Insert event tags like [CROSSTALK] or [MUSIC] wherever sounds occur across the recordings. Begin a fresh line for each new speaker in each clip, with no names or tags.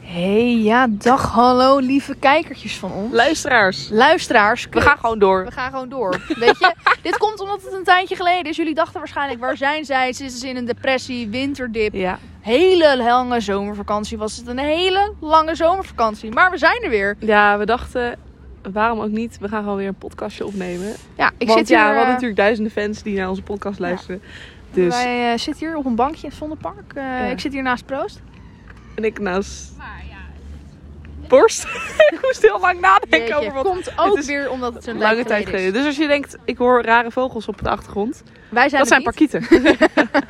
Hey, ja, dag, hallo, lieve kijkertjes van ons.
Luisteraars,
Luisteraars,
we
kut.
gaan gewoon door.
We gaan gewoon door. Weet je, [LAUGHS] dit komt omdat het een tijdje geleden is. Jullie dachten waarschijnlijk, waar zijn zij? Ze is in een depressie, winterdip.
Ja,
Hele lange zomervakantie was het. Een hele lange zomervakantie. Maar we zijn er weer.
ja we dachten, waarom ook niet, we gaan gewoon weer een podcastje opnemen.
Ja, ik
Want
zit
ja,
hier,
we
eh,
hadden natuurlijk duizenden fans die naar onze podcast luisteren. Dus,
Wij eh, zitten hier op een bankje in het Vondelpark. Eh, [LAUGHS] Ik zit hier naast Proost.
en ik naast... Borst. [LAUGHS] ik moest heel lang nadenken
Jeetje,
over wat...
komt ook
het is
weer omdat het een
Lange tijd geleden. Dus als je denkt, ik hoor rare vogels op de achtergrond.
Wij zijn
dat
er
zijn
niet. [LAUGHS]
parkieten.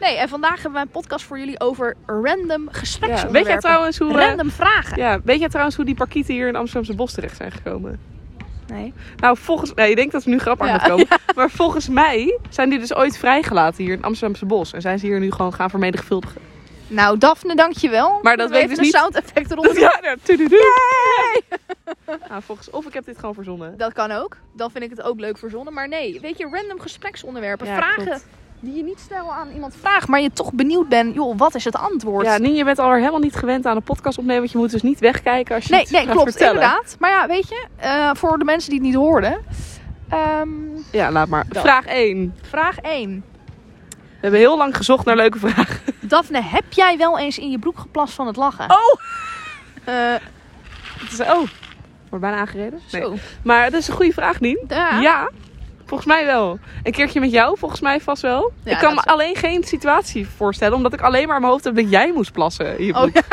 Nee, en vandaag hebben wij een podcast voor jullie over random
Ja. Weet jij
gespreksonderwerpen.
trouwens hoe... eh,
Random vragen.
ja, weet jij trouwens hoe die parkieten hier in Amsterdamse Bos terecht zijn gekomen?
Nee.
Nou, volgens mij, ik denk dat we nu grap aan
Ja.
gaan [LAUGHS] komen. Maar volgens mij zijn die dus ooit vrijgelaten hier in het Amsterdamse bos. En zijn ze hier nu gewoon gaan vermenigvuldigen.
Nou, Daphne, dankjewel.
Maar dat
We
weet ik
even
dus
een
niet.
sound effect
[LAUGHS]
eronder.
ja, ja, tududu. [LAUGHS] Nou, volgens, of ik heb dit gewoon verzonnen.
Dat kan ook. Dan vind ik het ook leuk verzonnen. Maar nee, weet je, random gespreksonderwerpen.
Ja,
vragen
klopt.
die je niet snel aan iemand vraagt, maar je toch benieuwd bent. Joh, wat is het antwoord?
Ja, Nien, je bent alweer helemaal niet gewend aan een podcast opnemen. Want je moet dus niet wegkijken als je
nee,
het
nee,
gaat
klopt.
vertellen.
Inderdaad. Maar ja, weet je, eh, voor de mensen die het niet hoorden. ehm,
Ja, laat maar.
Dan.
Vraag 1.
vraag 1.
We hebben heel lang gezocht naar leuke vragen.
Daphne, heb jij wel eens in je broek geplast van het lachen?
Oh! [LAUGHS]
Eh,
Het is, oh, wordt bijna aangereden. Nee.
zo.
Maar het is een goede vraag, Nien.
Ja.
Ja, volgens mij wel. Een keertje met jou, volgens mij vast wel.
Ja,
ik kan me
dat
alleen geen situatie voorstellen, omdat ik alleen maar in mijn hoofd heb dat jij moest plassen. in je
Oh,
broek.
Dat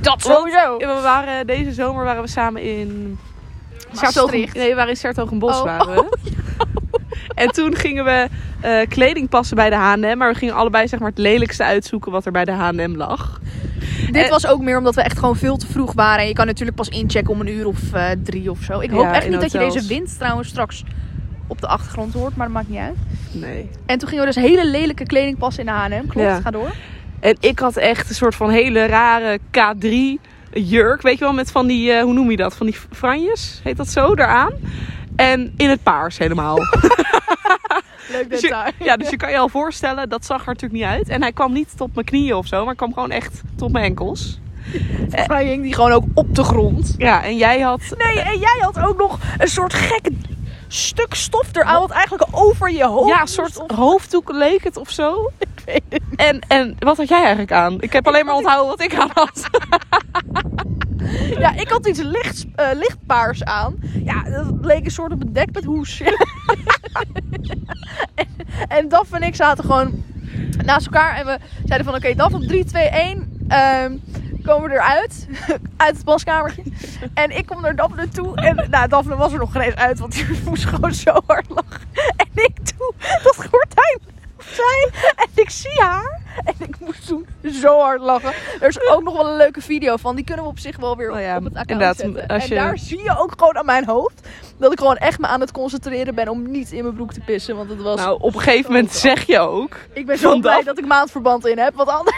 Want-
sowieso.
Ja, We waren, eh, deze zomer waren we samen in...
Maastricht.
Nee, we waren in Sertogenbos.
Oh.
Waren
[LAUGHS]
we. En toen gingen we eh, kleding passen bij de H&M. Maar we gingen allebei zeg maar, het lelijkste uitzoeken wat er bij de H&M lag.
Dit
Eh,
was ook meer omdat we echt gewoon veel te vroeg waren. En je kan natuurlijk pas inchecken om een uur of eh, drie of zo. Ik hoop
Ja,
echt
in
niet dat je
hotels.
deze wind trouwens straks op de achtergrond hoort, maar dat maakt niet uit.
Nee.
En toen gingen we dus hele lelijke kleding passen in de H&M. Klopt,
Ja.
ga door.
En ik had echt een soort van hele rare K3 jurk. Weet je wel, met van die, eh, hoe noem je dat? Van die franjes, heet dat zo, daaraan. En in het paars [LAUGHS] helemaal.
Leuk [LAUGHS]
Dus je, ja, dus je kan je al voorstellen, dat zag er natuurlijk niet uit. En hij kwam niet tot mijn knieën of zo, maar kwam gewoon echt tot mijn enkels.
Vrij hing die gewoon ook op de grond.
Ja, en jij had...
Nee, en jij had ook nog een soort gek stuk stof eraan, wat eigenlijk over je hoofd
ja, een soort hoofddoek leek het of zo. Ik weet het En, en wat had jij eigenlijk aan? Ik heb alleen maar onthouden wat ik aan had.
Ja, ik had iets lichts, eh, lichtpaars aan. Ja, dat leek een soort op een dekbedhoes. Ja. en, en Daf en ik zaten gewoon naast elkaar. En we zeiden van, oké, Daf op 3, 2, 1... ehm, komen we eruit. [LAUGHS] uit het paskamertje.
[LAUGHS]
En ik kom naar Daphne toe. En nou, Daphne was er nog geen eens uit, want die [LAUGHS] moest gewoon zo hard lachen. En ik doe dat gordijn opzij. En ik zie haar. En ik moest toen zo hard lachen. Er is ook nog wel een leuke video van. Die kunnen we op zich wel weer
Oh ja,
op het account
inderdaad,
zetten.
als je-
En daar zie je ook gewoon aan mijn hoofd... dat ik gewoon echt me aan het concentreren ben om niet in mijn broek te pissen. Want het was...
Nou, op een gegeven moment zeg je ook...
ik ben zo
van
blij
Daf.
dat ik maandverband in heb. Want anders...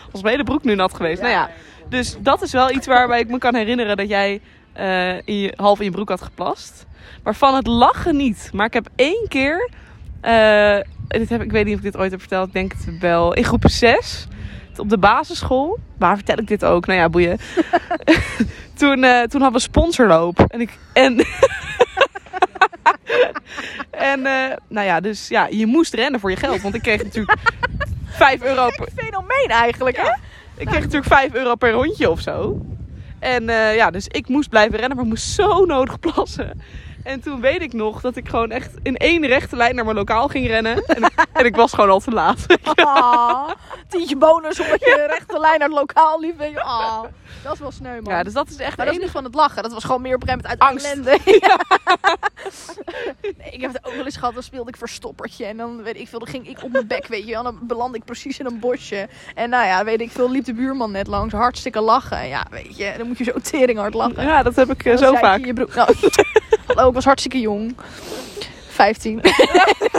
Volgens mij de broek nu nat geweest. Nou ja, dus dat is wel iets waarbij ik me kan herinneren dat jij eh, in je, half in je broek had geplast. Maar van het lachen niet. Maar ik heb één keer, eh, dit heb, ik weet niet of ik dit ooit heb verteld, ik denk het wel, in groep 6 op de basisschool. Waar vertel ik dit ook? Nou ja, boeien. [LAUGHS] toen, eh, toen hadden we sponsorloop. En ik. En. [LAUGHS] en eh, nou ja, dus ja, je moest rennen voor je geld. Want ik kreeg natuurlijk 5 euro per,
[LAUGHS] Fenomeen eigenlijk, hè?
ik kreeg natuurlijk 5 euro per rondje of zo. En eh, ja, dus ik moest blijven rennen, maar moest zo nodig plassen. En toen weet ik nog dat ik gewoon echt in één rechte lijn naar mijn lokaal ging rennen. En, en ik was gewoon al te laat.
Ah, tientje bonus omdat je rechte lijn naar het lokaal liep. En je, ah, dat is wel sneu, man.
[LAUGHS] Ja, dus dat is echt
maar dat is
één-
niet van het lachen. Dat was gewoon meer op een gegeven moment
Angst.
uit
[LAUGHS]
ellende. Ja. nee, ik heb het ook wel eens gehad. Dan speelde ik verstoppertje. En dan, weet ik veel, dan ging ik op mijn bek, weet je. En dan beland ik precies in een bosje. En nou ja, weet ik veel, liep de buurman net langs. Hartstikke lachen. Ja, weet je. Dan moet je zo tering hard lachen.
Ja, dat heb ik eh,
Dan
zo
Oh, zei ik
vaak.
in Je broek. Nou, [LAUGHS] hallo, ik was hartstikke jong. 15. [LAUGHS]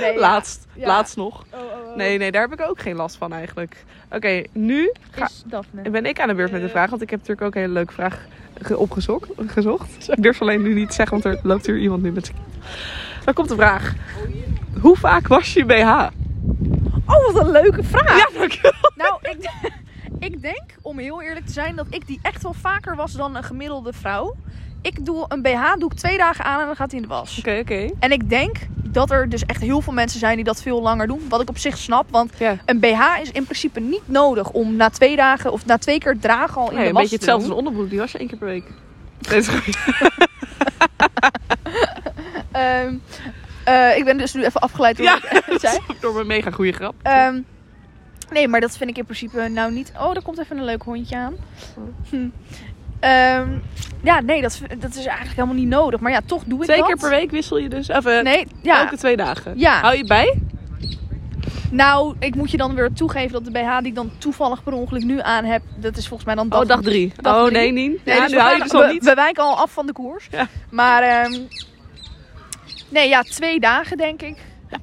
nee, ja.
Laatst.
Ja.
Laatst nog.
Oh, oh, oh.
Nee, nee, daar heb ik ook geen last van eigenlijk. Oké, nu ga-
Is Daphne.
ben ik aan de beurt met de vraag. Want ik heb natuurlijk ook een hele leuke vraag ge- opgezocht. gezocht. Ik durf alleen nu niet te zeggen, want er loopt hier iemand nu met zijn... Daar komt de vraag. Hoe vaak was je BH?
Oh, wat een leuke vraag.
Ja, dankjewel.
Nou, ik, [LAUGHS] ik denk, om heel eerlijk te zijn, dat ik die echt wel vaker was dan een gemiddelde vrouw. Ik doe een BH, doe ik twee dagen aan en dan gaat hij in de was.
Oké, oké.
En ik denk dat er dus echt heel veel mensen zijn die dat veel langer doen. Wat ik op zich snap, want
Ja.
een BH is in principe niet nodig om na twee dagen of na twee keer het dragen al in
Nee,
de
een
was
beetje
te doen.
hetzelfde als een onderbroek. Die was je één keer per [LAUGHS] week. Nee, is goed.
Ehm, eh, ik ben dus nu even afgeleid door
Ja,
wat ik zei.
[LAUGHS] Door een mega goede grap.
Ehm, nee, maar dat vind ik in principe nou niet. Oh, daar komt even een leuk hondje aan. Hm. Ehm, ja, nee, dat, is- dat is eigenlijk helemaal niet nodig. Maar ja, toch doe ik
Twee
dat.
keer per week wissel je dus. Of, eh,
Nee, ja.
elke twee dagen.
Ja.
Hou je bij?
Nou, ik moet je dan weer toegeven dat de BH die ik dan toevallig per ongeluk nu aan heb, dat is volgens mij dan dag,
oh, dag drie.
dag
oh,
drie.
nee, Nien.
Nee,
ja,
dus
nu
we,
hou je
gaan-
dus al
we-
niet.
we wijken al af van de koers.
Ja.
Maar ehm, nee, ja, twee dagen denk ik.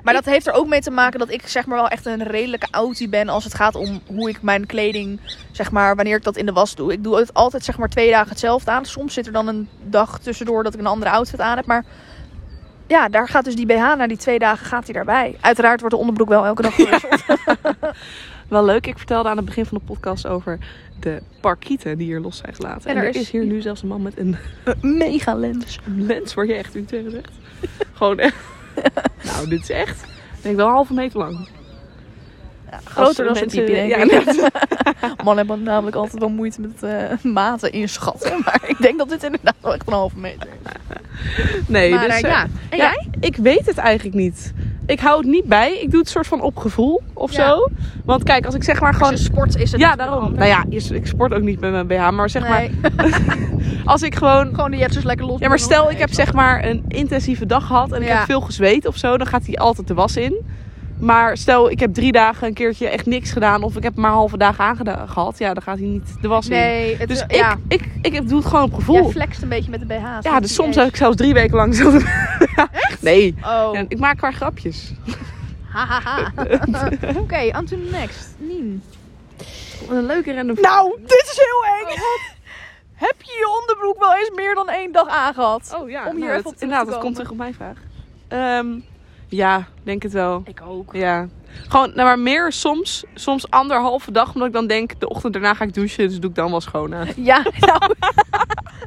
Maar dat heeft er ook mee te maken dat ik zeg maar wel echt een redelijke outie ben als het gaat om hoe ik mijn kleding, zeg maar, wanneer ik dat in de was doe. Ik doe het altijd zeg maar twee dagen hetzelfde aan. Soms zit er dan een dag tussendoor dat ik een andere outfit aan heb, maar ja, daar gaat dus die BH na die twee dagen gaat hij daarbij. Uiteraard wordt de onderbroek wel elke dag
[LAUGHS]
gewisseld.
Wel leuk, ik vertelde aan het begin van de podcast over de parkieten die hier los zijn gelaten. En, er is, hier nu zelfs een man met een [LAUGHS]
Mega lens.
lens, waar je echt u tegen zegt. [LAUGHS] Gewoon echt. [LAUGHS] nou, dit is echt, ik denk wel een halve meter lang.
Groter dan
Als
zijn
mensen-
pipi, denk
ja,
ik.
net.
Mannen hebben namelijk altijd wel moeite met eh, maten inschatten. Maar ik denk dat dit inderdaad wel echt een halve meter is.
Nee,
maar
dus...
eh,
eh,
ja. En
ja,
jij?
Ik weet het eigenlijk niet. Ik hou het niet bij. Ik doe het soort van op gevoel of
Ja.
zo. Want kijk, als ik zeg maar gewoon...
Als je sport is het
Ja,
natuurlijk
daarom.
wel
Nou ja, is- ik sport ook niet met mijn BH. Maar zeg
anders.
maar,
Nee,
als ik gewoon...
gewoon de jetsers lekker los.
Ja, maar
doen.
stel ik
Nee,
heb zeg maar een intensieve dag gehad en ik
Ja.
heb veel gezweet of zo, dan gaat die altijd de was in. Maar stel ik heb drie dagen een keertje echt niks gedaan of ik heb maar halve dagen aangeda- gehad, ja, dan gaat hij niet de was in.
Nee, het, eh,
Dus ik,
ja.
ik, ik, heb- doe het gewoon op
Jij
gevoel. Ja,
flext een beetje met de BH.
dus soms heb ik zelfs drie weken lang [LAUGHS] zelf. Nee.
Oh,
Ja, ik maak maar grapjes.
hahaha. [LAUGHS] Oké, on to the next. Nien.
Wat een leuke random
Nou, dit is heel eng. heb je je onderbroek wel eens meer dan één dag aangehad?
Oh ja,
Om hier
nou,
even
dat-
op terug te
Inderdaad, dat
komen.
komt terug op mijn vraag. Ehm, ja, denk het wel.
Ik ook.
Ja. Gewoon, nou maar meer soms, soms anderhalve dag, omdat ik dan denk, de ochtend daarna ga ik douchen, dus doe ik dan wel schoon [LAUGHS] aan.
[LAUGHS] Ja, nou.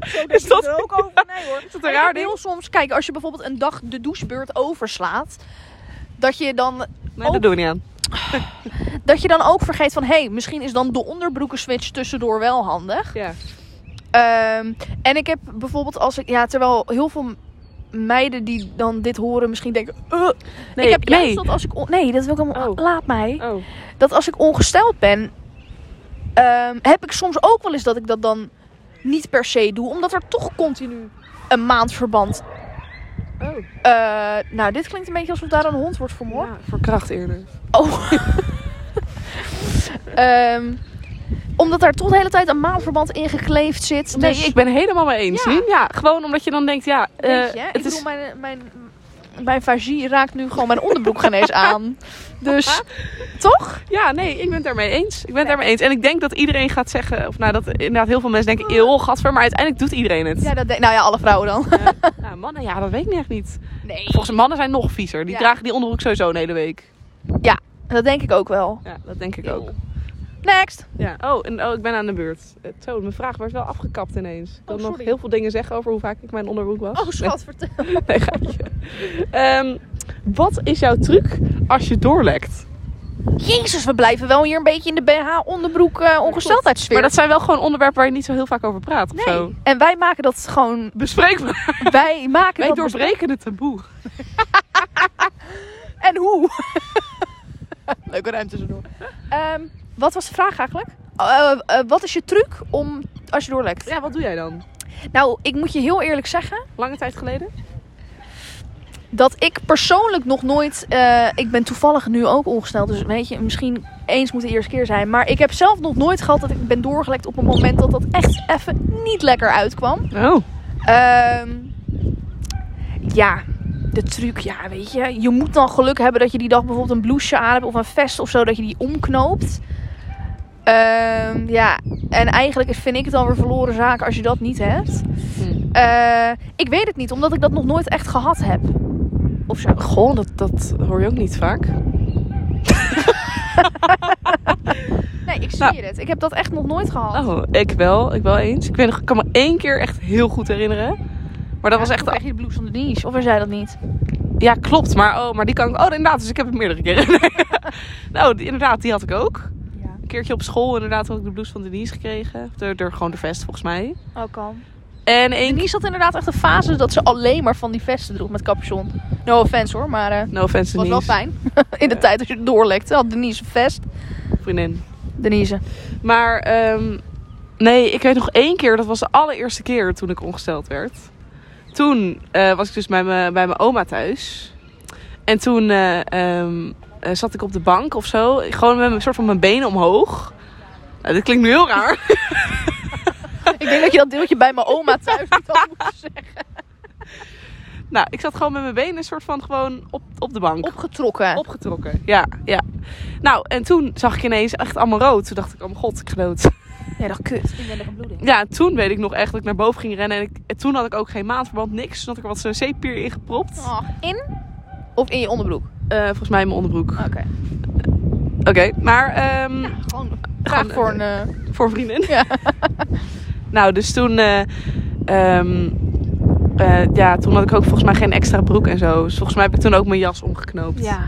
Zo
Is
is
dat-
dat er ook over? Nee hoor. Is
dat een raar ding?
heel soms, kijk, als je bijvoorbeeld een dag de douchebeurt overslaat, dat je dan,
Nee, dat doen we niet aan.
dat je dan ook vergeet van, hé, hey, misschien is dan de onderbroeken switch tussendoor wel handig.
Ja.
Ehm, en ik heb bijvoorbeeld als ik, ja, terwijl heel veel meiden die dan dit horen misschien denken, "Eh."
Nee,
ik heb juist
nee.
dat als ik, on- nee, dat wil ik helemaal,
Oh.
laat mij.
Oh.
dat als ik ongesteld ben, ehm, heb ik soms ook wel eens dat ik dat dan niet per se doe. Omdat er toch continu een maandverband.
Oh.
eh nou, dit klinkt een beetje alsof daar een hond wordt vermoord.
Ja, voor kracht eerder.
Oh. [LAUGHS] Ehm, omdat daar toch de hele tijd een maandverband in gekleefd zit.
Nee,
dus,
ik ben helemaal mee eens.
Ja.
Nien. Ja, gewoon omdat je dan denkt, ja, eh,
Weet je, ik
het
bedoel,
is...
mijn, mijn, mijn vagie raakt nu gewoon mijn onderbroek geen eens
[LAUGHS]
aan. Dus, toch?
Ja, nee, ik ben het daarmee eens. Ik ben het daarmee eens. En ik denk dat iedereen gaat zeggen, of nou, dat inderdaad heel veel mensen denken, eeuw, gadver, maar uiteindelijk doet iedereen het.
Ja, dat denk- nou ja, alle vrouwen dan.
[LAUGHS] Nou, mannen, ja, dat weet ik echt niet.
Nee.
Volgens mij mannen zijn nog viezer. Die
Ja.
dragen die onderbroek sowieso een hele week.
Dat denk ik ook wel.
Ja, dat denk ik ook.
Next!
Ja. Oh, en oh, ik ben aan de beurt. Eh, Zo, mijn vraag werd wel afgekapt ineens. Ik wil nog
Oh, sorry.
heel veel dingen zeggen over hoe vaak ik mijn onderbroek was.
Oh, schat, vertel.
Nee, [LAUGHS] nee, geitje. Ehm, wat is jouw truc als je doorlekt?
Jezus, we blijven wel hier een beetje in de BH-onderbroek eh ongesteldheidssfeer.
Maar dat zijn wel gewoon onderwerpen waar je niet zo heel vaak over praat of
nee.
zo.
En wij maken dat gewoon...
Bespreekbaar.
Wij maken
[LAUGHS] Wij
dat... dus-
doorbreken het taboe.
En hoe? Leuke ruimte tussendoor. Ehm, wat was de vraag eigenlijk? Eh, eh, wat is je truc om als je doorlekt?
Ja, wat doe jij dan?
Nou, ik moet je heel eerlijk zeggen...
Lange tijd geleden?
dat ik persoonlijk nog nooit. eh, ik ben toevallig nu ook ongesteld, dus weet je, misschien eens moet de eerste keer zijn. Maar ik heb zelf nog nooit gehad dat ik ben doorgelekt op een moment dat dat echt even niet lekker uitkwam.
Oh.
Ehm, ja, de truc, ja, weet je. Je moet dan geluk hebben dat je die dag bijvoorbeeld een blouseje aan hebt of een vest of zo, dat je die omknoopt. Ehm, ja, en eigenlijk vind ik het dan weer verloren zaak als je dat niet hebt.
Hm.
Eh, ik weet het niet, omdat ik dat nog nooit echt gehad heb. Of zo.
Goh, dat, dat hoor je ook niet vaak.
Nee, ik zie
Nou.
het. Ik heb dat echt nog nooit gehad.
Oh, ik wel. Ik wel eens. Ik, weet nog, ik kan me één keer echt heel goed herinneren. Maar dat was echt...
Krijg je de blues on the knees? Of er zei dat niet?
Ja, klopt. Maar, oh, maar die kan ik... Oh, inderdaad. Dus ik heb het meerdere keren. [LAUGHS] nou, die- inderdaad. Die had ik ook.
Ja.
Een keertje op school inderdaad had ik de blouse van Denise gekregen. Door, door gewoon de vest, volgens mij.
Oh, kan.
En één...
Denise had inderdaad echt een fase dat ze alleen maar van die vesten droeg met capuchon. No offense hoor, maar eh,
No offense,
was
Denise.
wel fijn. [LAUGHS] In de tijd als je het doorlekte had Denise een vest.
Vriendin.
Denise.
Maar ehm, nee, ik weet nog één keer, dat was de allereerste keer toen ik ongesteld werd. Toen eh, was ik dus bij, me, bij mijn oma thuis. En toen eh, ehm, eh, zat ik op de bank of zo. Gewoon met een soort van mijn benen omhoog. Nou, dit klinkt nu heel [LAUGHS] raar.
[LAUGHS] Ik denk dat je dat deeltje bij mijn oma thuis niet had [LAUGHS] moeten zeggen.
nou, ik zat gewoon met mijn benen een soort van gewoon op, op de bank.
Opgetrokken.
Opgetrokken. Ja, ja. Nou, en toen zag ik ineens echt allemaal rood. Toen dacht ik, oh mijn god, ik ga dood.
Ja, dat kut. Ik ben nog een bloeding.
Ja, en toen weet ik nog echt dat ik naar boven ging rennen. En, ik, en toen had ik ook geen maandverband, niks. Toen had ik er wat zo'n zeepier in gepropt.
Oh. in? Of in je onderbroek?
Eh, volgens mij in mijn onderbroek.
Oké.
Oké, maar ehm,
Gewoon
Gewoon,
voor een...
eh,
eh,
voor een vriendin.
Ja.
[LAUGHS] nou, dus toen... eh, ehm, eh, ja, toen had ik ook volgens mij geen extra broek en zo. Dus volgens mij heb ik toen ook mijn jas omgeknoopt.
Ja.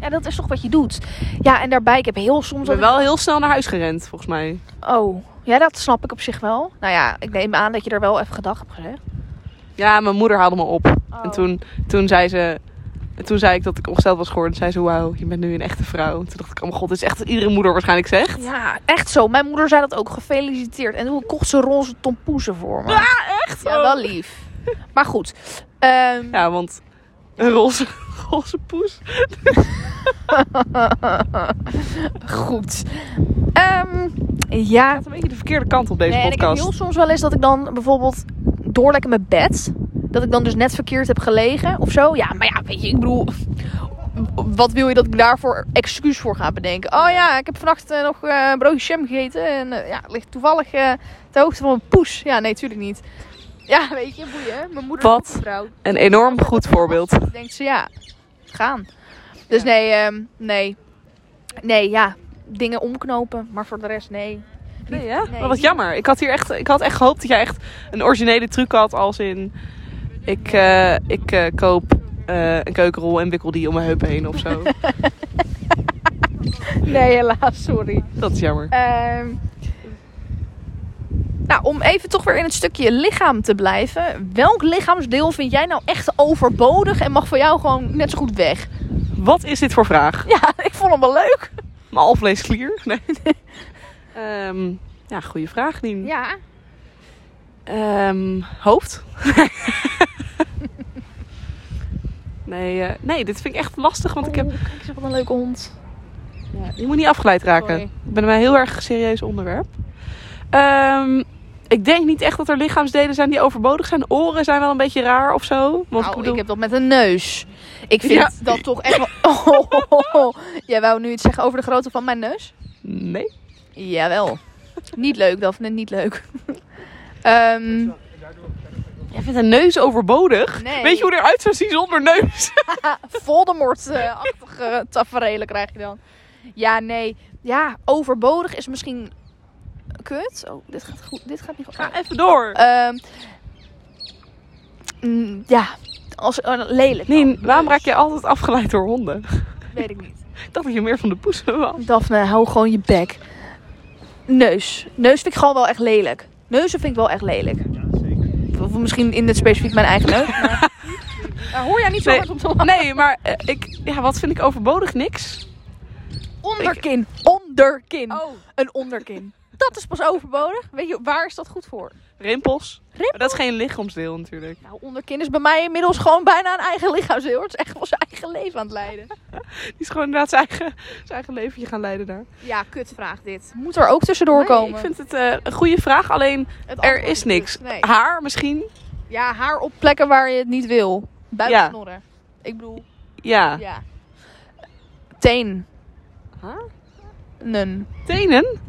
Ja, dat is toch wat je doet. Ja, en daarbij, ik heb heel
Ik
soms...
ben
dat
wel heel snel naar huis gerend, volgens mij.
ik- Oh, ja, dat snap ik op zich wel. Nou ja, ik neem aan dat je er wel even gedag hebt gezegd.
Ja, mijn moeder haalde me op. En
Oh.
toen, toen zei ze... en Toen zei ik dat ik ongesteld was geworden. Toen zei ze, wauw, je bent nu een echte vrouw. Toen dacht ik, oh mijn god, dit is echt wat iedere moeder waarschijnlijk zegt.
Ja, echt zo. Mijn moeder zei dat ook. Gefeliciteerd. En toen kocht ze roze tompoezen voor me. Ja,
Echt
ja wel lief. Maar goed. Ehm,
Ja, want een roze, [LAUGHS] roze poes.
goed. Ehm, ja.
gaat een beetje de verkeerde kant op deze
Nee, en ik heb
podcast.
heel soms wel eens dat ik dan bijvoorbeeld doorlekker in mijn bed. Dat ik dan dus net verkeerd heb gelegen of zo. Ja, maar ja, weet je, ik bedoel... Wat wil je dat ik daarvoor excuus voor ga bedenken? Oh ja, ik heb vannacht eh, nog eh, een broodje jam gegeten. En eh, ja, het ligt toevallig eh ter hoogte van mijn poes. Ja, nee, tuurlijk niet. Ja, weet je, boeien. Mijn moeder
Wat?
is een vrouw.
Een enorm goed voorbeeld.
Dan denkt ze, ja, gaan. Dus nee, ehm, nee. Nee, ja. Dingen omknopen, maar voor de rest nee.
Nee, ja?
Nee.
Maar wat jammer. Ik had hier echt, ik had echt gehoopt dat jij echt een originele truc had als in... Ik, eh, ik eh, koop eh, een keukenrol en wikkel die om mijn heup heen of
[LAUGHS]
zo.
Nee, helaas, sorry.
dat is jammer.
Ehm, nou, om even toch weer in het stukje lichaam te blijven. Welk lichaamsdeel vind jij nou echt overbodig en mag voor jou gewoon net zo goed weg?
Wat is dit voor vraag?
Ja, [LAUGHS] ik vond hem wel leuk.
Mijn
[LAUGHS]
alvleesklier? Nee. Ehm, ja, goede vraag, Nien.
Ja.
Ehm, hoofd? [LAUGHS] nee, eh, nee, dit vind ik echt lastig, want ik heb...
Oeh, kijk eens wat een leuke hond.
Je moet niet afgeleid raken.
Sorry.
Ik ben bij een heel erg serieus onderwerp. Ehm, ik denk niet echt dat er lichaamsdelen zijn die overbodig zijn. Oren zijn wel een beetje raar of zo. Want
nou,
ik bedoel,
ik heb dat met een neus. Ik vind
Ja.
dat toch echt wel... [LAUGHS] Oh, Jij wou nu iets zeggen over de grootte van mijn neus?
Nee.
Jawel. niet leuk, Daphne, niet leuk. [LAUGHS] Ehm,
Jij vindt een neus overbodig?
Nee.
Weet je hoe die eruit zou zien zonder neus?
Voldemort-achtige tafereelen krijg je dan. Ja, nee. Ja, overbodig is misschien kut. Oh, dit gaat, goed. Dit gaat niet goed.
[LAUGHS] Ga even door.
Ehm, mm, ja, als, eh, lelijk. dan.
nee, waarom raak jij altijd afgeleid door honden? [LAUGHS]
Weet ik niet.
Ik dacht dat je meer van de poesen was.
Daphne, hou gewoon je bek. Neus. Neus vind ik gewoon wel echt lelijk. Neuzen vind ik wel echt lelijk. Of misschien in het specifiek mijn eigen neus. Maar... Daar hoor jij niet zo
Nee.
hard op te lachen.
Nee, maar eh, ik, ja, wat vind ik overbodig? Niks.
Onderkin. Onderkin.
Oh.
een onderkin. [LAUGHS] Dat is pas overbodig. Weet je, waar is dat goed voor?
Rimpels.
Rimpels?
Maar dat is geen lichaamsdeel natuurlijk.
Nou, onderkin is bij mij inmiddels gewoon bijna een eigen lichaamsdeel. Het is echt wel zijn eigen leven aan het leiden.
Die is gewoon inderdaad zijn eigen, zijn eigen leventje gaan leiden daar.
Ja, kutvraag dit. Moet er ook tussendoor
Nee,
komen.
ik vind het eh, een goede vraag, alleen
Het
er
antwoord
is niks.
kut. Nee.
Haar misschien?
Ja, haar op plekken waar je het niet wil.
Ja.
Buiknorren. Ik bedoel,
Ja.
ja. Tenen.
Haar?
Nun.
Tenen?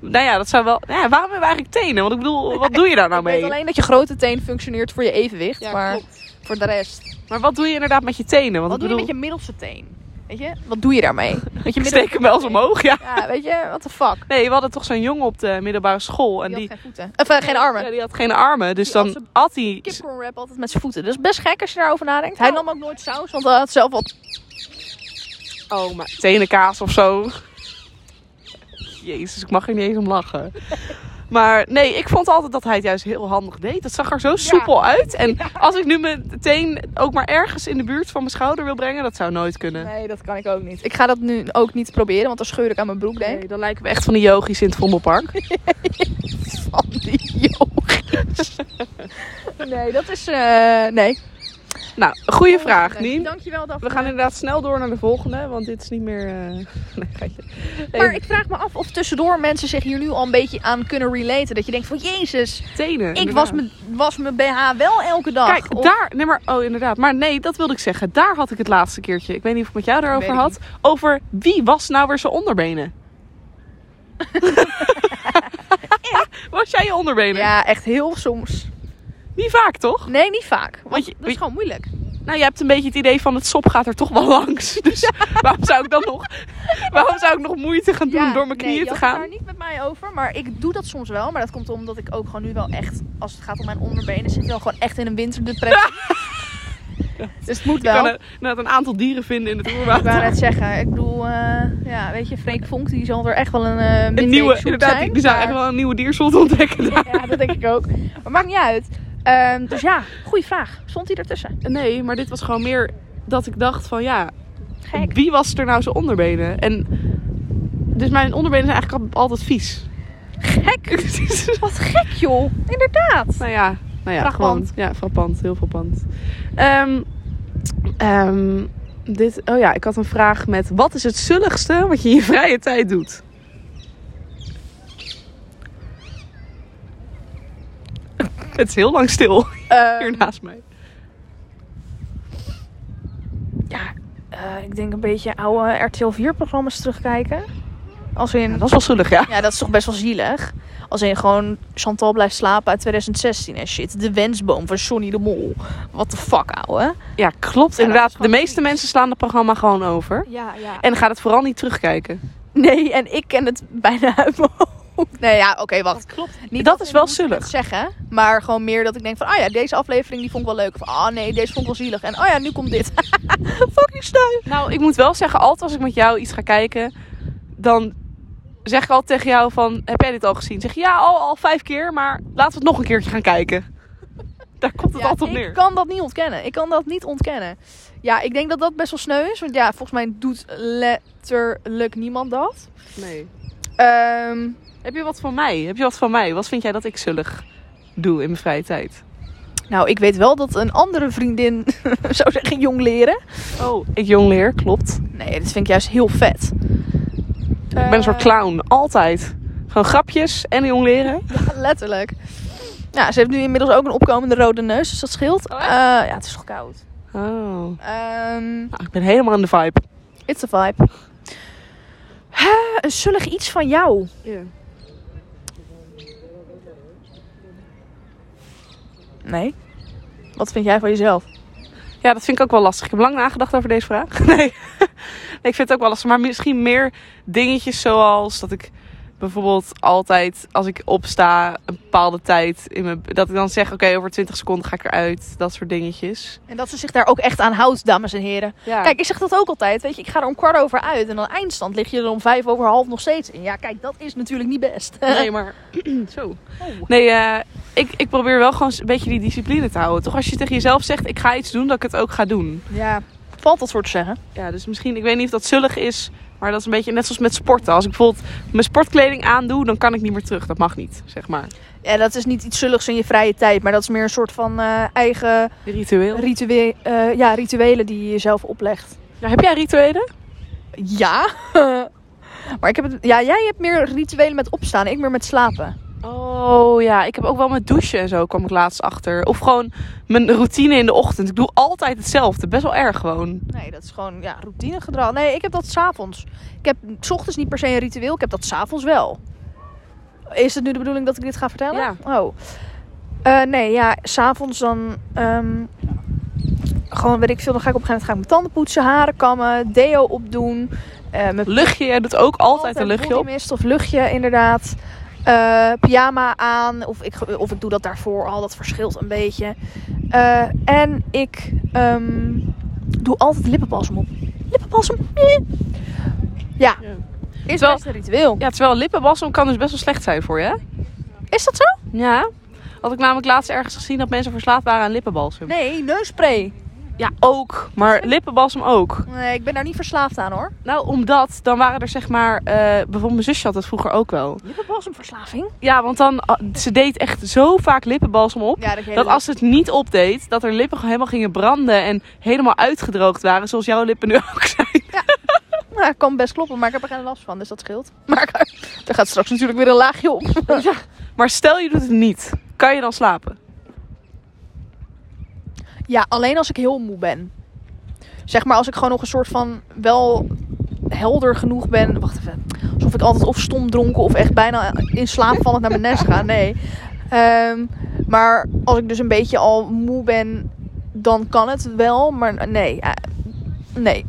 Nou ja, dat zou wel. Ja, waarom hebben we eigenlijk tenen? Want ik bedoel, wat doe je daar nou
[LAUGHS] Ik weet
mee?
alleen dat je grote teen functioneert voor je evenwicht.
Ja,
maar voor de rest.
Maar wat doe je inderdaad met je tenen?
Wat
Want
doe
ik
je met
bedoel,
je middelste teen? Weet je, wat doe je
[LAUGHS]
daarmee? Weet je,
Ik
midden-
steek hem wel eens omhoog, ja.
Ja, weet je, what the fuck.
Nee, we hadden toch zo'n jongen op de middelbare school. En
Die,
die,
had geen voeten. Of eh, geen armen.
Ja, die had geen armen. Dus
Die had
dan
zijn
at hij...
Kipcorn wrap altijd met zijn voeten. Dat is best gek als je daarover nadenkt.
Nou.
Hij nam ook nooit saus, want hij had zelf wat...
Oh, maar tenenkaas of zo. Jezus, ik mag er niet eens om lachen. Maar nee, ik vond altijd dat hij het juist heel handig deed. Dat zag er zo soepel uit. En als ik nu mijn teen ook maar ergens in de buurt van mijn schouder wil brengen, dat zou nooit kunnen.
Nee, dat kan ik ook niet. Ik ga dat nu ook niet proberen, want dan scheur ik aan mijn broek, denk ik.
Nee, dan lijken we echt van de yogis in het
[LAUGHS]
Vondelpark.
Van die
[LAUGHS]
yogis. nee, dat is... eh, nee.
Nou, goede vraag, Nien.
Dankjewel, Daphne.
We gaan inderdaad snel door naar de volgende, want dit is niet meer... eh, [LAUGHS] nee, geitje. Nee,
Maar ik vraag me af of tussendoor mensen zich hier nu al een beetje aan kunnen relaten. Dat je denkt van, jezus,
tenen.
ik
inderdaad.
was mijn was mijn BH wel elke dag.
Kijk,
Of-
daar. Nee, maar. Oh, inderdaad. Maar nee, dat wilde ik zeggen. Daar had ik het laatste keertje. Ik weet niet of ik met jou
Weet
daarover
ik
had. Over wie was nou weer zijn
[LAUGHS]
onderbenen? was jij je onderbenen?
Ja, echt heel soms.
Niet vaak, toch?
Nee, niet vaak. Want,
Want je-
dat is gewoon moeilijk.
Nou, je hebt een beetje het idee van het sop gaat er toch wel
[LAUGHS]
langs. Dus waarom zou ik dan nog. Waarom zou ik nog moeite gaan doen
Ja,
door mijn
nee,
knieën
je
te
had
gaan?
het daar niet met mij over, maar ik doe dat soms wel. Maar dat komt omdat ik ook gewoon nu wel echt, als het gaat om mijn onderbenen, zit ik wel gewoon echt in een
[LAUGHS]
winterdepressie. [LAUGHS] dus het moet
Je kan
wel.
er- net een aantal dieren vinden in het
Ik wou
[LAUGHS] oerwoud.
net zeggen, ik bedoel, eh, ja, weet je, Freek Vonk, die zal er echt wel een, eh
Een
midweek
nieuwe,
zoet
inderdaad,
zijn,
die zou
maar-
echt wel een nieuwe diersoort ontdekken. daar.
[LAUGHS]
[LAUGHS]
Ja, dat denk ik ook. Maar maakt niet uit. Ehm, dus ja, goede vraag. Stond hij ertussen?
Nee, maar dit was gewoon meer dat ik dacht van ja,
Gek.
Wie was er nou zijn onderbenen? En dus mijn onderbenen zijn eigenlijk al- altijd vies.
Gek. Wat gek, joh. Inderdaad.
[LAUGHS] nou ja, nou ja,
Frappant.
gewoon- ja, frappant, heel frappant. Ehm, ehm, dit, oh ja, ik had een vraag met wat is het zulligste wat je in je vrije tijd doet? [LAUGHS] Het is heel lang stil
Ehm,
hier naast mij.
ja, eh, ik denk een beetje oude RTL 4-programma's terugkijken. Als in...
Ja, dat is wel zullig, ja.
Ja, dat is toch best wel zielig. Als in gewoon Chantal blijft slapen uit 2016 en shit. De wensboom van Johnny de Mol. What the fuck, ouwe.
Ja, klopt.
Ja, dat is
Inderdaad, de
gewoon
meeste
vies.
mensen slaan het programma gewoon over.
Ja, ja.
En gaat het vooral niet terugkijken.
[LAUGHS] Nee, en ik ken het bijna uit mijn hoofd. Nee, ja, oké, wacht.
klopt.
Niet
Dat is wel
ik het
zullig.
zeggen, maar gewoon meer dat ik denk van... Ah ja, deze aflevering die vond ik wel leuk. Of ah nee, deze vond ik wel zielig. En ah ja, nu komt
[LAUGHS]
dit. Fucking sneu.
Nou, ik moet wel zeggen, altijd als ik met jou iets ga kijken, dan zeg ik altijd tegen jou van, heb jij dit al gezien? Zeg je, ja, al, al vijf keer, maar laten we het nog een keertje gaan kijken. [LAUGHS] Daar komt het
Ja,
altijd op
Ik
neer.
kan dat niet ontkennen. Ik kan dat niet ontkennen. Ja, ik denk dat dat best wel sneu is. Want ja, volgens mij doet letterlijk niemand dat.
Nee.
Ehm...
Heb je wat van mij? Heb je wat van mij? Wat vind jij dat ik zullig doe in mijn vrije tijd?
Nou, ik weet wel dat een andere vriendin [LAUGHS] zou zeggen jong leren.
Oh, ik jong leer, klopt.
Nee, dat vind ik juist heel vet. Eh,
ik ben een soort clown, altijd. Gewoon grapjes en jong leren.
Ja, letterlijk. Ja, ze heeft nu inmiddels ook een opkomende rode neus, dus dat scheelt.
Oh,
Eh,
echt?
ja, het is toch koud.
Oh,
Ehm,
nou, ik ben helemaal in de vibe.
it's a vibe. Huh, een zullig iets van jou. Nee. Wat vind jij van jezelf?
Ja, dat vind ik ook wel lastig. Ik heb lang nagedacht over deze vraag. [LAUGHS] Nee. nee, ik vind het ook wel lastig. Maar misschien meer dingetjes zoals dat ik bijvoorbeeld altijd als ik opsta een bepaalde tijd in mijn dat ik dan zeg oké over 20 seconden ga ik eruit dat soort dingetjes.
En dat ze zich daar ook echt aan houdt, dames en heren.
Ja.
Kijk, ik zeg dat ook altijd. Weet je, ik ga er om kwart over uit en dan eindstand lig je er om vijf over half nog steeds in. Ja, kijk, dat is natuurlijk niet best. [LAUGHS] Oh.
nee, maar [CLEARS THROAT] zo. Nee, eh, ik, ik probeer wel gewoon een beetje die discipline te houden. Toch als je tegen jezelf zegt ik ga iets doen dat ik het ook ga doen.
Ja, valt dat soort te zeggen.
Ja, dus misschien, ik weet niet of dat zullig is, maar dat is een beetje net zoals met sporten. Als ik bijvoorbeeld mijn sportkleding aandoe, dan kan ik niet meer terug. Dat mag niet, zeg maar.
Ja, dat is niet iets zulligs in je vrije tijd, maar dat is meer een soort van eh, eigen
Ritueel.
ritue eh, ja, rituelen die je jezelf oplegt.
Ja, Nou, heb jij rituelen?
Ja, [LAUGHS] maar ik heb het, ja, jij hebt meer rituelen met opstaan, ik meer met slapen.
Oh ja, ik heb ook wel met douchen en zo kwam ik laatst achter. Of gewoon mijn routine in de ochtend. Ik doe altijd hetzelfde. Best wel erg gewoon.
Nee, dat is gewoon ja, routinegedrag. Nee, ik heb dat s'avonds. Ik heb s ochtends niet per se een ritueel, ik heb dat s'avonds wel. Is het nu de bedoeling dat ik dit ga vertellen?
Ja.
Oh. Eh, nee, ja, s'avonds dan... ehm, gewoon, weet ik veel, dan ga ik op een gegeven moment ga ik mijn tanden poetsen, haren kammen, deo opdoen. eh mijn
Luchtje, jij doet ook altijd een luchtje op.
bodymist of luchtje, inderdaad. Eh, pyjama aan. Of ik, ge- of ik doe dat daarvoor al. Dat verschilt een beetje. Eh, en ik ehm, doe altijd lippenbalsem op. Lippenbalsem? eh. Ja.
Ja.
Is
Terwijl-
wel een ritueel.
Ja, terwijl lippenbalsem kan dus best wel slecht zijn voor je. hè?
Is dat zo?
Ja. Had ik namelijk laatst ergens gezien dat mensen verslaafd waren aan lippenbalsem.
Nee, neuspray.
Ja, ook. [LAUGHS] Maar lippenbalsem ook.
Nee, ik ben daar niet verslaafd aan hoor.
Nou, omdat dan waren er zeg maar... eh, bijvoorbeeld mijn zusje had dat vroeger ook wel.
Lippenbalsemverslaving?
Ja, want dan... ah, Ze deed echt zo vaak lippenbalsem op.
Ja, dat,
Dat als ze het niet opdeed, dat haar lippen helemaal gingen branden en helemaal uitgedroogd waren. Zoals jouw lippen nu [LAUGHS] ook zijn.
[LAUGHS] Nou, kan best kloppen, maar ik heb er geen last van, dus dat scheelt. Maar [LAUGHS] er gaat straks natuurlijk weer een laagje op.
Maar stel je doet het niet. Kan je dan slapen?
Ja, alleen als ik heel moe ben. Zeg maar als ik gewoon nog een soort van wel helder genoeg ben. Wacht even. Alsof ik altijd of stom dronken of echt bijna in slaap vallend naar mijn nest
[LAUGHS]
ga. Nee. Ehm, maar als ik dus een beetje al moe ben, dan kan het wel. Maar nee. eh, nee.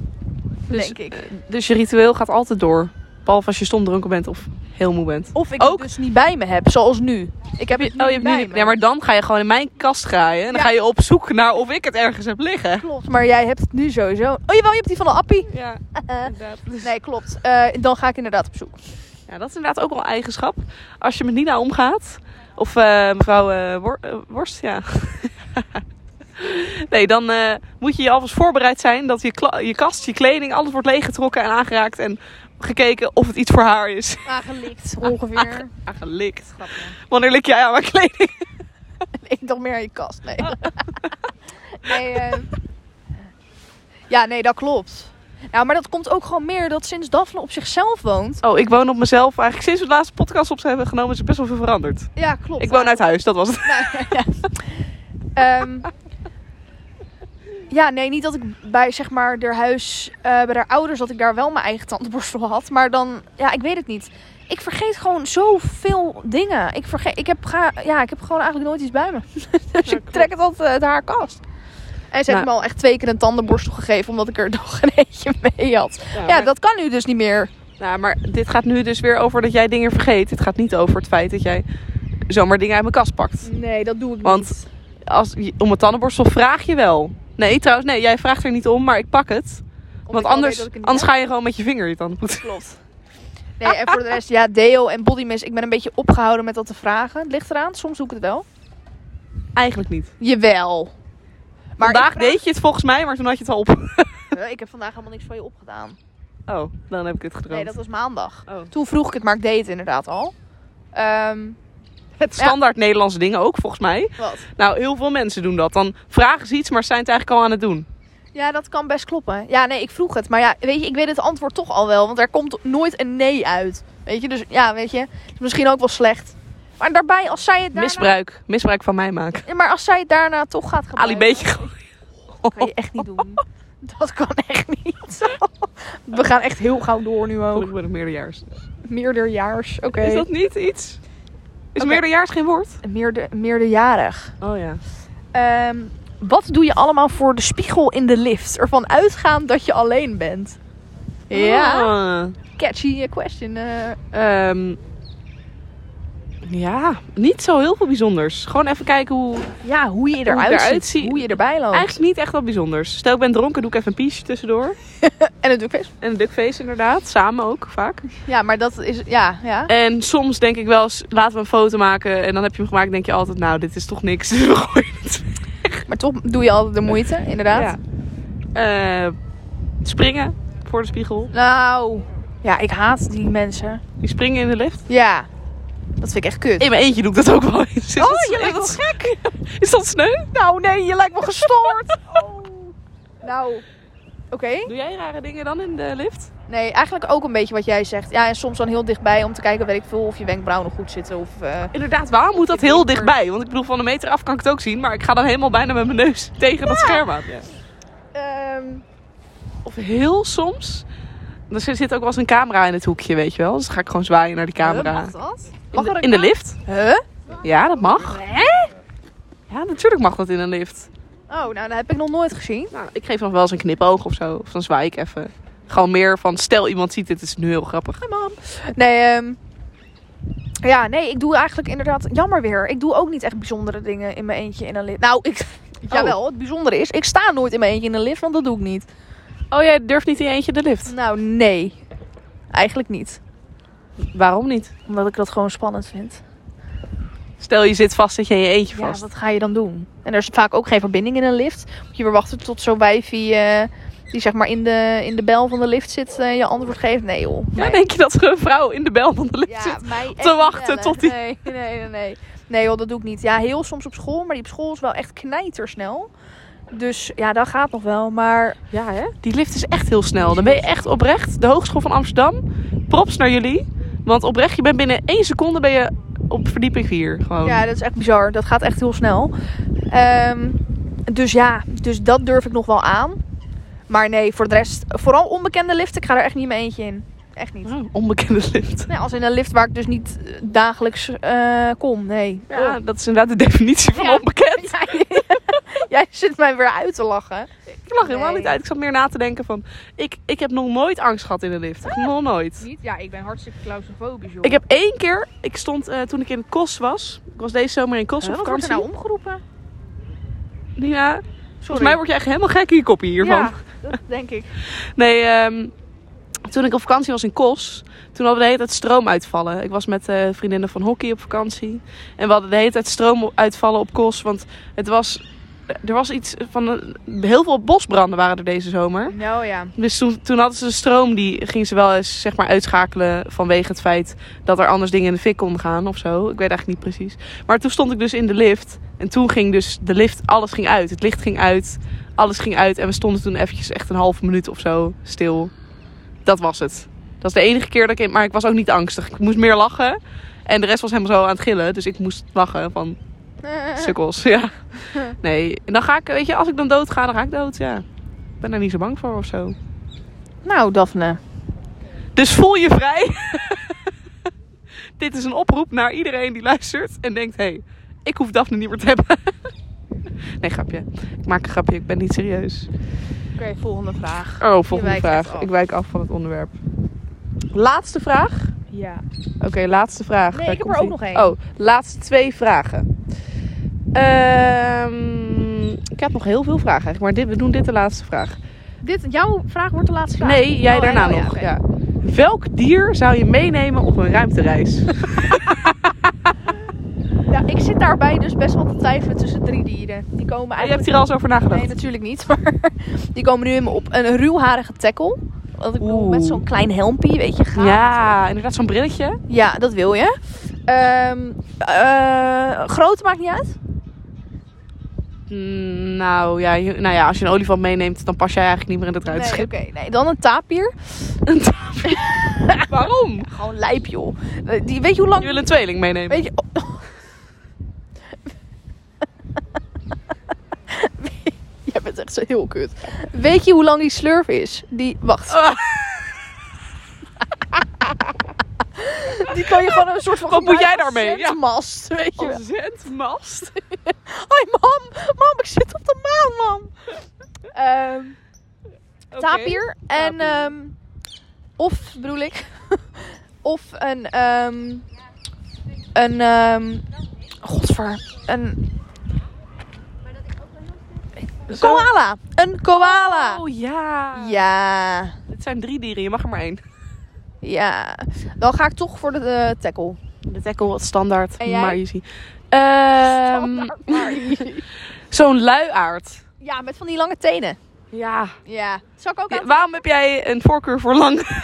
Dus-
denk ik.
Dus je ritueel gaat altijd door. Behalve als je stom dronken bent of heel moe bent.
Of ik het
ook-
dus niet bij me heb, zoals nu. Ik heb het nu
Oh, je hebt
niet bij
nu...
me.
Ja, maar dan ga je gewoon in mijn kast graaien. En dan
Ja.
ga je op zoek naar of ik het ergens heb liggen.
Klopt, maar jij hebt het nu sowieso. Oh jawel, je hebt die van de appie. [LAUGHS]
Ja, inderdaad.
Nee, klopt. Eh, dan ga ik inderdaad op zoek.
Ja, dat is inderdaad ook wel een eigenschap. Als je met Nina omgaat, of eh, mevrouw eh, Wor- eh, Worst, ja. [LAUGHS] nee, dan eh, moet je je alvast voorbereid zijn dat je, kla- je kast, je kleding, alles wordt leeggetrokken en aangeraakt. En gekeken of het iets voor haar is.
Aangelikt, ongeveer.
Aangelikt. Wanneer lik jij aan mijn kleding?
[LAUGHS] Ik dacht meer aan je kast. Nee. [LAUGHS] nee eh. Ja, nee, dat klopt. Nou, maar dat komt ook gewoon meer dat sinds Daphne op zichzelf woont.
Oh, ik woon op mezelf. Eigenlijk sinds we de laatste podcast op hebben genomen is er best wel veel veranderd.
Ja, klopt.
Ik woon uit huis, dat was het.
Nou, ja. Ehm, ja, nee, niet dat ik bij zeg maar haar huis, eh, bij haar ouders, dat ik daar wel mijn eigen tandenborstel had. Maar dan, ja, ik weet het niet. Ik vergeet gewoon zoveel dingen. Ik, vergeet, ik, heb, ga, ja, ik heb gewoon eigenlijk nooit iets bij me. dus ik trek het altijd uit haar kast. En ze
Nou.
heeft me al echt twee keer een tandenborstel gegeven, omdat ik er [LAUGHS] nog een eentje mee had. Ja, dat kan nu dus niet meer.
Nou, maar dit gaat nu dus weer over dat jij dingen vergeet. Het gaat niet over het feit dat jij zomaar dingen uit mijn kast pakt.
Nee, dat doe ik
Want-
niet.
Als, om een tandenborstel vraag je wel. Nee, trouwens, nee, jij vraagt er niet om, maar ik pak het.
Omdat
want
ik al
anders,
weet dat ik het niet
anders
heb.
ga je gewoon met je vinger je tanden poetsen.
Klopt. Nee, en voor de rest, ja, deo en body mist. Ik ben een beetje opgehouden met dat te vragen. Het ligt eraan, soms doe ik het wel.
[LAUGHS] Eigenlijk niet.
Jawel. Maar
Vandaag
ik, vraag-
deed je het volgens mij, maar toen had je het al op. [LAUGHS]
Eh, ik heb vandaag helemaal niks van je opgedaan.
Oh, dan heb ik het gedroomd.
Nee, dat was maandag.
Oh.
Toen vroeg ik het, maar ik deed het inderdaad al. Ehm,
[LAUGHS] Het standaard Nederlandse dingen ook, volgens mij.
wat?
Nou, heel veel mensen doen dat. Dan vragen ze iets, maar zijn het eigenlijk al aan het doen.
Ja, dat kan best kloppen. Ja, nee, ik vroeg het. Maar ja, weet je, ik weet het antwoord toch al wel. Want er komt nooit een nee uit. Weet je, dus ja, weet je. Het is misschien ook wel slecht. Maar daarbij, als zij het daarna...
Misbruik. Misbruik van mij maken.
Ja, Maar als zij het daarna toch gaat gebruiken...
Ali Beetje gooien.
Dat kan je echt niet doen. [LAUGHS] Dat kan echt niet. [LAUGHS] We gaan echt heel gauw door nu ook.
Ik ben nog meerderjaars.
Meerderjaars, oké.
Is dat niet iets? Is
Oké.
meerderjaars geen woord?
Meerder, meerderjarig.
Oh ja.
Ehm, wat doe je allemaal voor de spiegel in de lift? Ervan uitgaan dat je alleen bent. Ja,
Ah.
catchy eh, question. eh.
Ehm, ja, niet zo heel veel bijzonders. Gewoon even kijken hoe.
ja, hoe je
Hoe ik
eruit,
eruit
ziet,
zie.
hoe je erbij loopt.
Eigenlijk niet echt wat bijzonders. Stel, ik ben dronken, doe ik even een piesje tussendoor.
En dat doe ik best.
En een duckface, inderdaad. Samen ook vaak.
Ja, maar dat is, ja, ja.
En soms denk ik wel eens: laten we een foto maken. En dan heb je hem gemaakt. denk je altijd: nou, dit is toch niks. [LAUGHS] We gooien het. weg.
Maar toch doe je altijd de moeite, inderdaad.
Ja. Eh, springen voor de spiegel.
Nou, ja, ik haat die mensen.
Die springen in de lift.
Ja, dat vind ik echt kut.
In mijn eentje doe ik dat ook wel eens. Is
Oh,
dat-
je
is
lijkt
dat-
wel gek.
[LAUGHS] Is dat sneu?
Nou, nee, je lijkt me [LAUGHS] gestoord. Oh. Nou, oké.
Doe jij rare dingen dan in de lift?
Nee, eigenlijk ook een beetje wat jij zegt. Ja, en soms dan heel dichtbij om te kijken, weet ik veel, of je wenkbrauwen nog goed zitten. Of, eh,
Inderdaad, waarom moet dat
Ik
heel
denk er-
dichtbij? Want ik bedoel, van een meter af kan ik het ook zien, maar ik ga dan helemaal bijna met mijn neus [LAUGHS] tegen dat scherm aan.
ehm,
Of heel soms, er zit ook wel eens een camera in het hoekje, weet je wel. Dus dan ga ik gewoon zwaaien naar die
huh,
camera.
Mag dat?
In
Mag er
de,
een
in de
camera-
lift?
Huh?
Ja, dat mag. Ja, natuurlijk mag dat in een lift.
Ah, Oh, nou, dat heb ik nog nooit gezien.
Nou, ik geef nog wel eens een knipoog of zo. Of dan zwaai ik even. Gewoon meer van, stel iemand ziet dit, is nu heel grappig.
Hi, mam. Nee, ehm, ja, nee, ik doe eigenlijk inderdaad... Jammer weer. Ik doe ook niet echt bijzondere dingen in mijn eentje in een lift. Nou, ik... [LAUGHS]
Oh.
Jawel, het bijzondere is, ik sta nooit in mijn eentje in een lift, want dat doe ik niet.
Oh, jij durft niet in je eentje de lift?
Nou, nee. Eigenlijk niet.
Waarom niet?
Omdat ik dat gewoon spannend vind.
Stel, je zit vast, zit je in je eentje
Ja,
vast.
wat ga je dan doen? En er is vaak ook geen verbinding in een lift. Moet je weer wachten tot zo'n wijfie eh, die zeg maar in de, in de bel van de lift zit eh, je antwoord geeft? Nee joh.
Ja, denk je dat er een vrouw in de bel van de lift zit?
mij
echt wachten
bellen.
tot die-
Nee, nee, nee, nee. Nee joh, dat doe ik niet. Ja, heel soms op school, maar die op school is wel echt knijtersnel. Dus ja, dat gaat nog wel. Maar
Ja, hè? Die lift is echt heel snel. Dan ben je echt oprecht. De Hogeschool van Amsterdam, props naar jullie. Want oprecht, je bent binnen één seconde ben je op verdieping 4. Gewoon.
ja, dat is echt bizar. Dat gaat echt heel snel. Ehm, dus ja, dus dat durf ik nog wel aan. Maar nee, voor de rest, vooral onbekende liften, ik ga er echt niet in mijn eentje in. Echt niet.
Oh, onbekende lift.
Nee, als in een lift waar ik dus niet eh, dagelijks eh, kom, nee. Oh.
Ja, dat is inderdaad de definitie
[LAUGHS]
van
Ja.
onbekend.
Jij, jij zit mij weer uit te lachen.
Ik lag helemaal
Nee.
niet uit. Ik zat meer na te denken van... Ik, ik heb nog nooit angst gehad in de lift. Echt Nog nooit.
Niet? Ja, ik ben hartstikke claustrofobisch, joh.
Ik heb één keer... Ik stond eh, toen ik in Kos was. Ik was deze zomer in Kos op
Wat wordt
vakantie.
er nou omgeroepen?
Nina,
Sorry.
volgens mij word je echt helemaal gek in je koppie hiervan.
Ja, [LAUGHS] dat denk ik.
Nee, ehm, toen ik op vakantie was in Kos, toen hadden we de hele tijd stroomuitvallen. Ik was met eh, vriendinnen van hockey op vakantie. En we hadden de hele tijd stroomuitvallen op Kos. Want het was, er was iets van... een- heel veel bosbranden waren er deze zomer.
Nou ja.
Dus toen, toen hadden ze de stroom, die ging ze wel eens zeg maar, uitschakelen vanwege het feit dat er anders dingen in de fik konden gaan of zo. Ik weet eigenlijk niet precies. Maar toen stond ik dus in de lift en toen ging dus de lift, alles ging uit. Het licht ging uit, alles ging uit en we stonden toen eventjes echt een half minuut of zo stil. Dat was het. Dat is de enige keer dat ik, maar ik was ook niet angstig. Ik moest meer lachen en de rest was helemaal zo aan het gillen. Dus ik moest lachen van sukkels, ja. Nee, en dan ga ik, weet je, als ik dan dood ga, dan ga ik dood, ja. Ik ben daar niet zo bang voor of zo.
Nou, Daphne.
Dus voel je vrij. [LAUGHS] Dit is een oproep naar iedereen die luistert en denkt: hé, hey, ik hoef Daphne niet meer te hebben. [LAUGHS] nee, grapje. Ik maak een grapje, ik ben niet serieus.
Oké, volgende vraag.
Oh,
Je
volgende
wijkt
vraag.
echt af.
Ik wijk af van het onderwerp. Laatste vraag.
Ja.
Oké, laatste vraag.
Nee,
Daar
ik heb
komt
er ook
ie.
nog één.
Oh, laatste twee vragen. Ehm, ik heb nog heel veel vragen eigenlijk, maar dit, we doen dit de laatste vraag.
Dit, jouw vraag wordt de laatste vraag?
Nee, jij
Oh,
daarna
oh, ja,
nog.
oké.
ja. Welk dier zou je meenemen op een ruimtereis?
Ja, ik zit daarbij dus best wel te twijfelen tussen drie dieren. Die komen
Ah, je
eigenlijk...
hebt hier al eens over nagedacht.
Nee, natuurlijk niet. [LAUGHS] Maar die komen nu in me op een ruwharige tackle. Want ik bedoel,
Oeh.
met zo'n klein helmpje, weet je, gaat.
ja, inderdaad, zo'n brilletje.
Ja, dat wil je. Ehm eh, grootte maakt niet uit.
Mm, nou, ja, je- nou ja, als je een olifant meeneemt, dan pas jij eigenlijk niet meer in het
nee,
[LAUGHS] ruimteschip.
oké, nee, dan een tapier.
Waarom?
Gewoon lijp, joh. Eh, Die, weet je hoe
Je
lang...
wil een tweeling meenemen.
Weet je...
[LAUGHS]
[LAUGHS] oh. Jij bent echt zo heel kut. Weet je hoe lang die slurf is? Die...
[LAUGHS]
Wacht.
Ah.
Die kan je gewoon een soort van...
Oh. Wat moet jij
gebruiken als zendmast,
daarmee? Ja. Oh.
weet je wel.
Ontzettend
Hoi mam, mam, ik zit op de maan, mam. Ehm, tapir en
tapir.
ehm, of bedoel ik, [LAUGHS] of een ehm een ehm godver, een koala, een koala.
Oh ja.
Ja,
Het zijn drie dieren, je mag er maar één.
ja. Dan ga ik toch voor de eh, tackle.
De tackle wat standaard,
En jij?
maar easy.
[LAUGHS]
Ehm zo'n luiaard.
ja, met van die lange tenen.
Ja.
Ja. Zal ik ook
Ja,
aan?
Waarom heb jij een voorkeur voor lang? [LAUGHS]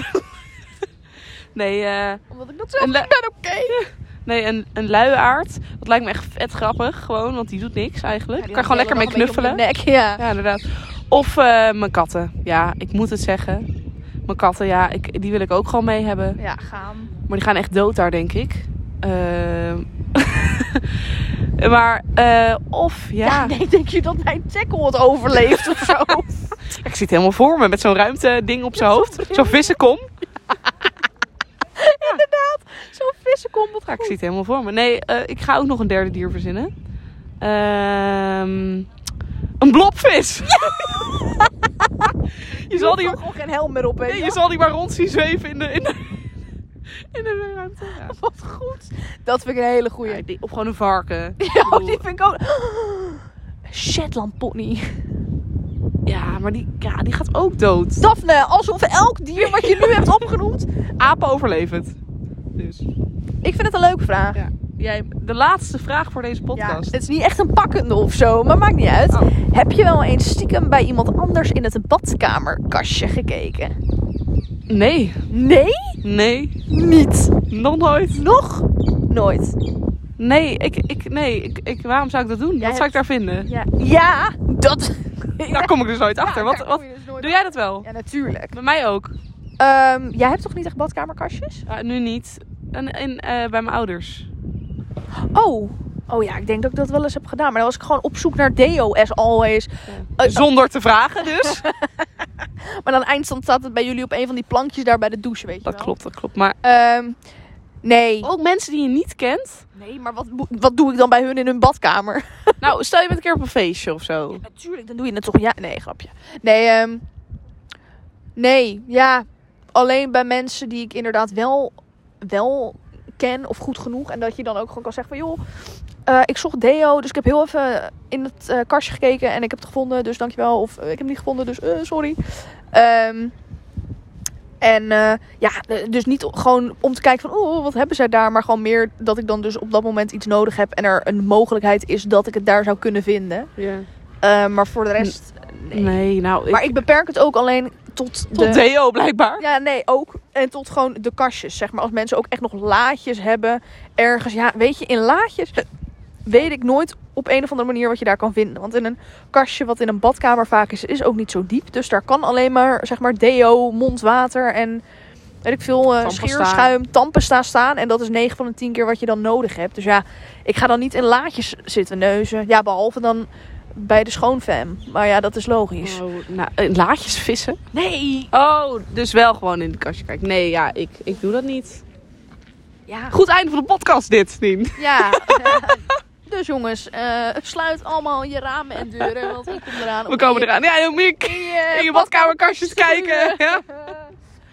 nee, eh...
Omdat ik dat zelf
Een le-
niet ben, oké.
Nee, een, een luiaard. Dat lijkt me echt vet grappig. Gewoon, want die doet niks eigenlijk.
Ik
kan gewoon lekker mee knuffelen.
Nek, ja.
Ja, inderdaad. Of eh, mijn katten. Ja, ik moet het zeggen. Mijn katten, ja, ik, die wil ik ook gewoon mee hebben.
Ja, gaan.
Maar die gaan echt dood daar, denk ik. Ehm, [LAUGHS] maar, eh, of ja.
Ja. nee, denk je dat mijn tackle het overleeft of
[LAUGHS]
zo?
Ik zit helemaal voor me met zo'n ruimteding op zijn hoofd. Zo'n vissenkom.
Inderdaad, zo'n vissenkom, dat
Ja,
ga
ik
ik
zie
zien.
het helemaal voor me. Nee, eh, ik ga ook nog een derde dier verzinnen. Ehm, Een blobvis! [LAUGHS] je, zal die,
Ik gewoon geen helm meer op, weet
nee,
je.
je zal die maar rond zien zweven in de, in de, in de ruimte. Ja.
[LAUGHS] Wat goed. Dat vind ik een hele goeie.
Ja, die- of gewoon een varken.
[LAUGHS] Ja, die vind ik
[GASPS]
ook... Shetland pony.
Ja, maar die, ja, die gaat ook dood.
Daphne, alsof elk dier wat je nu hebt opgenoemd...
Apen overleven het. Dus.
Ik vind het een leuke vraag.
Ja. Jij, de laatste vraag voor deze
Ja,
podcast.
het is niet echt een pakkende of zo, maar maakt niet uit.
Oh.
Heb je wel eens stiekem bij iemand anders in het badkamerkastje gekeken?
Nee.
Nee,
Nee.
niet.
Nog nooit.
Nog nooit.
Nee, ik, ik, nee ik, ik, waarom zou ik dat doen? Wat zou
hebt-
ik daar vinden?
Ja, Nou, ja [LAUGHS] dat.
[LAUGHS] Daar kom ik dus nooit
Ja,
achter.
daar kom
Wat, wat,
je dus nooit
doe jij dat wel?
Ja, natuurlijk.
Bij mij ook.
Ehm, jij hebt toch niet echt badkamerkastjes?
Ja, nu niet. En, en eh, bij mijn ouders.
Oh. Oh ja, ik denk dat ik dat wel eens heb gedaan. Maar dan was ik gewoon op zoek naar deo, as always. Eh,
Zonder te vragen
[LAUGHS]
dus.
Maar dan eindstand staat het bij jullie op een van die plankjes daar bij de douche, weet je
dat
wel.
klopt, dat klopt. Maar
Ehm, nee.
ook mensen die je niet kent.
Nee, maar wat, mo- wat doe ik dan bij hun in hun badkamer?
Nou, stel je bent een keer op een feestje of zo.
Natuurlijk, dan doe je het toch ja. Nee, grapje. Nee, ehm, nee, ja. Alleen bij mensen die ik inderdaad wel, wel ken of goed genoeg. En dat je dan ook gewoon kan zeggen van joh, eh, ik zocht Deo. Dus ik heb heel even in het eh, kastje gekeken en ik heb het gevonden. Dus dankjewel. Of eh, ik heb het niet gevonden, dus eh, sorry. Ehm, en eh, ja, eh, dus niet o- gewoon om te kijken van oh, wat hebben zij daar. Maar gewoon meer dat ik dan dus op dat moment iets nodig heb. En er een mogelijkheid is dat ik het daar zou kunnen vinden. Eh, maar voor de rest, nee.
Nee. nou. Ik,
Maar ik beperk het ook alleen tot, de...
tot Deo blijkbaar.
Ja, nee, ook. En tot gewoon de kastjes, zeg maar. Als mensen ook echt nog laadjes hebben ergens. Ja, weet je, in laadjes eh, weet ik nooit op een of andere manier wat je daar kan vinden. Want in een kastje wat in een badkamer vaak is, is ook niet zo diep. Dus daar kan alleen maar, zeg maar, deo, mondwater en... Weet ik veel, eh
Tandpasta.
scheerschuim, tandpasta staan. En dat is 9 van de 10 keer wat je dan nodig hebt. Dus ja, ik ga dan niet in laadjes zitten neuzen. Ja, behalve dan bij de schoonfam. Maar ja, dat is logisch.
Oh, nou, eh, laadjes vissen.
Nee!
Oh, dus wel gewoon in de kastje kijken. Nee, ja, ik, ik doe dat niet.
Ja,
Goed einde van de podcast dit, Nien.
Ja. [LAUGHS] dus jongens, eh, sluit allemaal je ramen en deuren, want ik kom eraan.
We komen eraan. Ja, heel moeilijk.
In je,
In je badkamerkastjes kijken.
[LAUGHS]
Ja.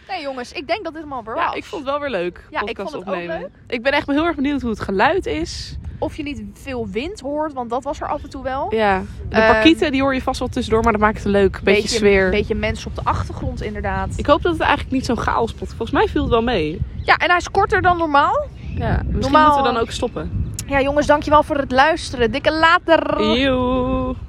Nee jongens, ik denk dat dit hem al
Ja,
was.
ik vond het wel weer leuk.
Ja, ik
podcast
vond het ook
opnemen. Ik ben echt heel erg benieuwd hoe het geluid is.
Of je niet veel wind hoort, want dat was er af en toe wel.
Ja. De
Ehm,
parkieten, die hoor je vast wel tussendoor, maar dat maakt het leuk. Beetje, sfeer.
Beetje mensen op de achtergrond inderdaad.
Ik hoop dat het eigenlijk niet zo'n chaos pot. Volgens mij viel het wel mee.
Ja, en hij is korter dan normaal.
Ja, misschien
Normaal-
moeten we dan ook stoppen.
Ja jongens, dankjewel voor het luisteren. Dikke later.
Eeuw.